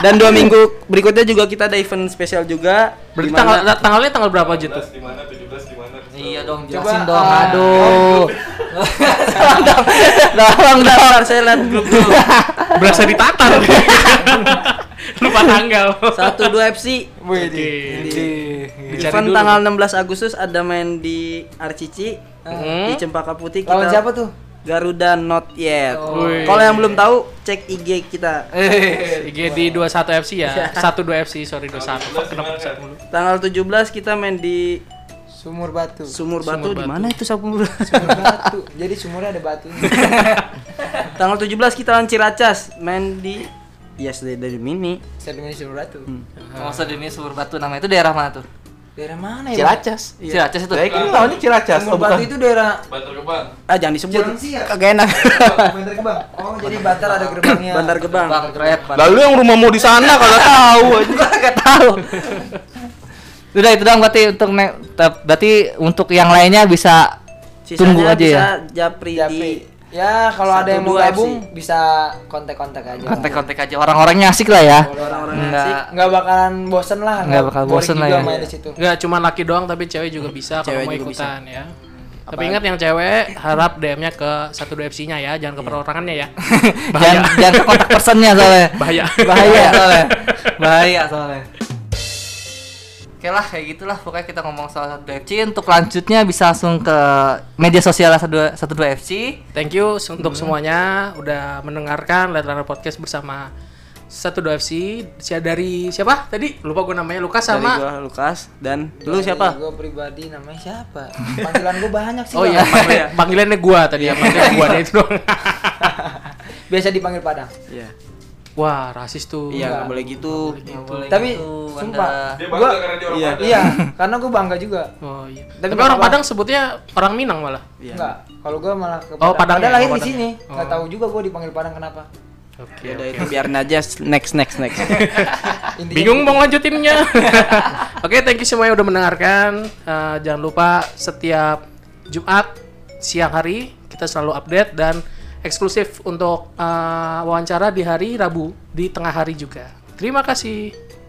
Dan
(laughs)
dua minggu berikutnya juga kita ada event spesial juga.
Berarti
di mana-
tanggal tanggalnya tanggal berapa aja
(laughs)
tuh?
17 di mana 17 di mana.
Iya
So,
dong,
Coba,
jelasin dong.
ah,
Aduh. Tolong dong. Tolong dong.
saya lihat grup
(laughs)
dulu.
Berasa ditatar. (laughs) Lupa tanggal.
Satu dua FC.
Oke. Dicari
event
dulu. (laughs)
tanggal 16 Agustus ada main di Arcici
Hmm.
di Cempaka Putih kita.
lawan siapa tuh
Garuda Not Yet.
Oh. Wih.
Kalau yang belum tahu cek IG kita.
IG Iya, di 21 FC ya.
Iya.
12 FC, sorry 21. Fuck, kenapa bisa mulu?
Tanggal 17 kita main di
Sumur batu.
Sumur
Sumur Batu.
Batu.
Di mana itu Sumur Batu?
Sumur (laughs) batu. Jadi sumurnya ada batunya.
Tanggal 17 kita lawan Ciracas main di Yes dari, dari Mini.
Saya demi sumur batu.
Masa di ini Sumur Batu namanya itu daerah mana tuh?
Daerah mana ya? Bang?
Ciracas.
Ciracas itu.
Baik, ini lawannya Ciracas.
Sumur
Oh,
batu
bukan.
itu daerah
Bantar gebang.
Ah jangan disebut.
Cilengsi ya?
Kagak enak.
Bantar Gebang. Oh, jadi Bantar ada gerbangnya.
Bantar Gebang.
Bang Grab. Bang.
Lalu yang rumah mau di sana kalau tahu aja.
Gak tahu. Udah itu dong berarti untuk ne- tap- berarti untuk yang lainnya bisa
Sisanya
tunggu aja
bisa
ya.
Japri, di
Japri. Ya, kalau ada yang mau
12
gabung bisa kontak-kontak aja.
Kontak-kontak aja orang-orangnya asik lah ya.
orang-orang
Nggak-
asik.
Nggak bakalan bosen lah.
Nggak bakal
boring
bosen lah
juga
ya.
main di situ.
Enggak cuma laki doang tapi cewek juga bisa kalau
Cewek
mau
juga
ikutan ya. Tapi ingat yang cewek harap DM-nya ke 12 FC-nya ya, jangan ke perorangannya ya.
Iya. (laughs) Jangan jangan ke kontak personnya soalnya.
Bahaya.
bahaya soalnya bahaya soalnya oke lah kayak gitulah pokoknya kita ngomong soal 12 FC untuk lanjutnya bisa langsung ke media sosial 12 12 FC
Thank you se- untuk semuanya udah mendengarkan Letrana Podcast bersama 12 FC Si- dari siapa tadi? Lupa gue namanya Lukas
Dari
sama
gua Lukas dan lu siapa?
Gue pribadi namanya siapa? Panggilan gue banyak sih.
Oh (laughs)
Bang.
iya, panggilan- panggilannya gua tadi ya, panggilan gua deh itu (laughs) doang.
Biasa dipanggil Padang.
Iya.
Wah, rasis tuh.
Iya, nggak boleh gitu.
Tapi,
Itu,
sumpah.
Anda-
Dia
Gua-
bangga karena dia orang
iya,
Padang.
Iya, karena gue bangga juga.
Oh iya.
Tapi
Tapi,
nggak
orang
apa-apa.
Padang sebutnya orang Minang malah.
Iya.
Enggak. Kalau gue malah ke
Oh, Padang
Padahal
ya,
lahir
oh,
di
Padang.
sini.
Oh.
Nggak tahu juga gue dipanggil Padang
(laughs)
kenapa.
Oke.
Ya udah
oke.
itu biarin aja next next next.
Intinya gitu.
Bingung mau lanjutinnya. (laughs) Oke, thank you semuanya udah mendengarkan. Eh, jangan lupa setiap Jumat siang hari kita selalu update dan eksklusif untuk eh, wawancara di hari Rabu di tengah hari juga. Terima kasih.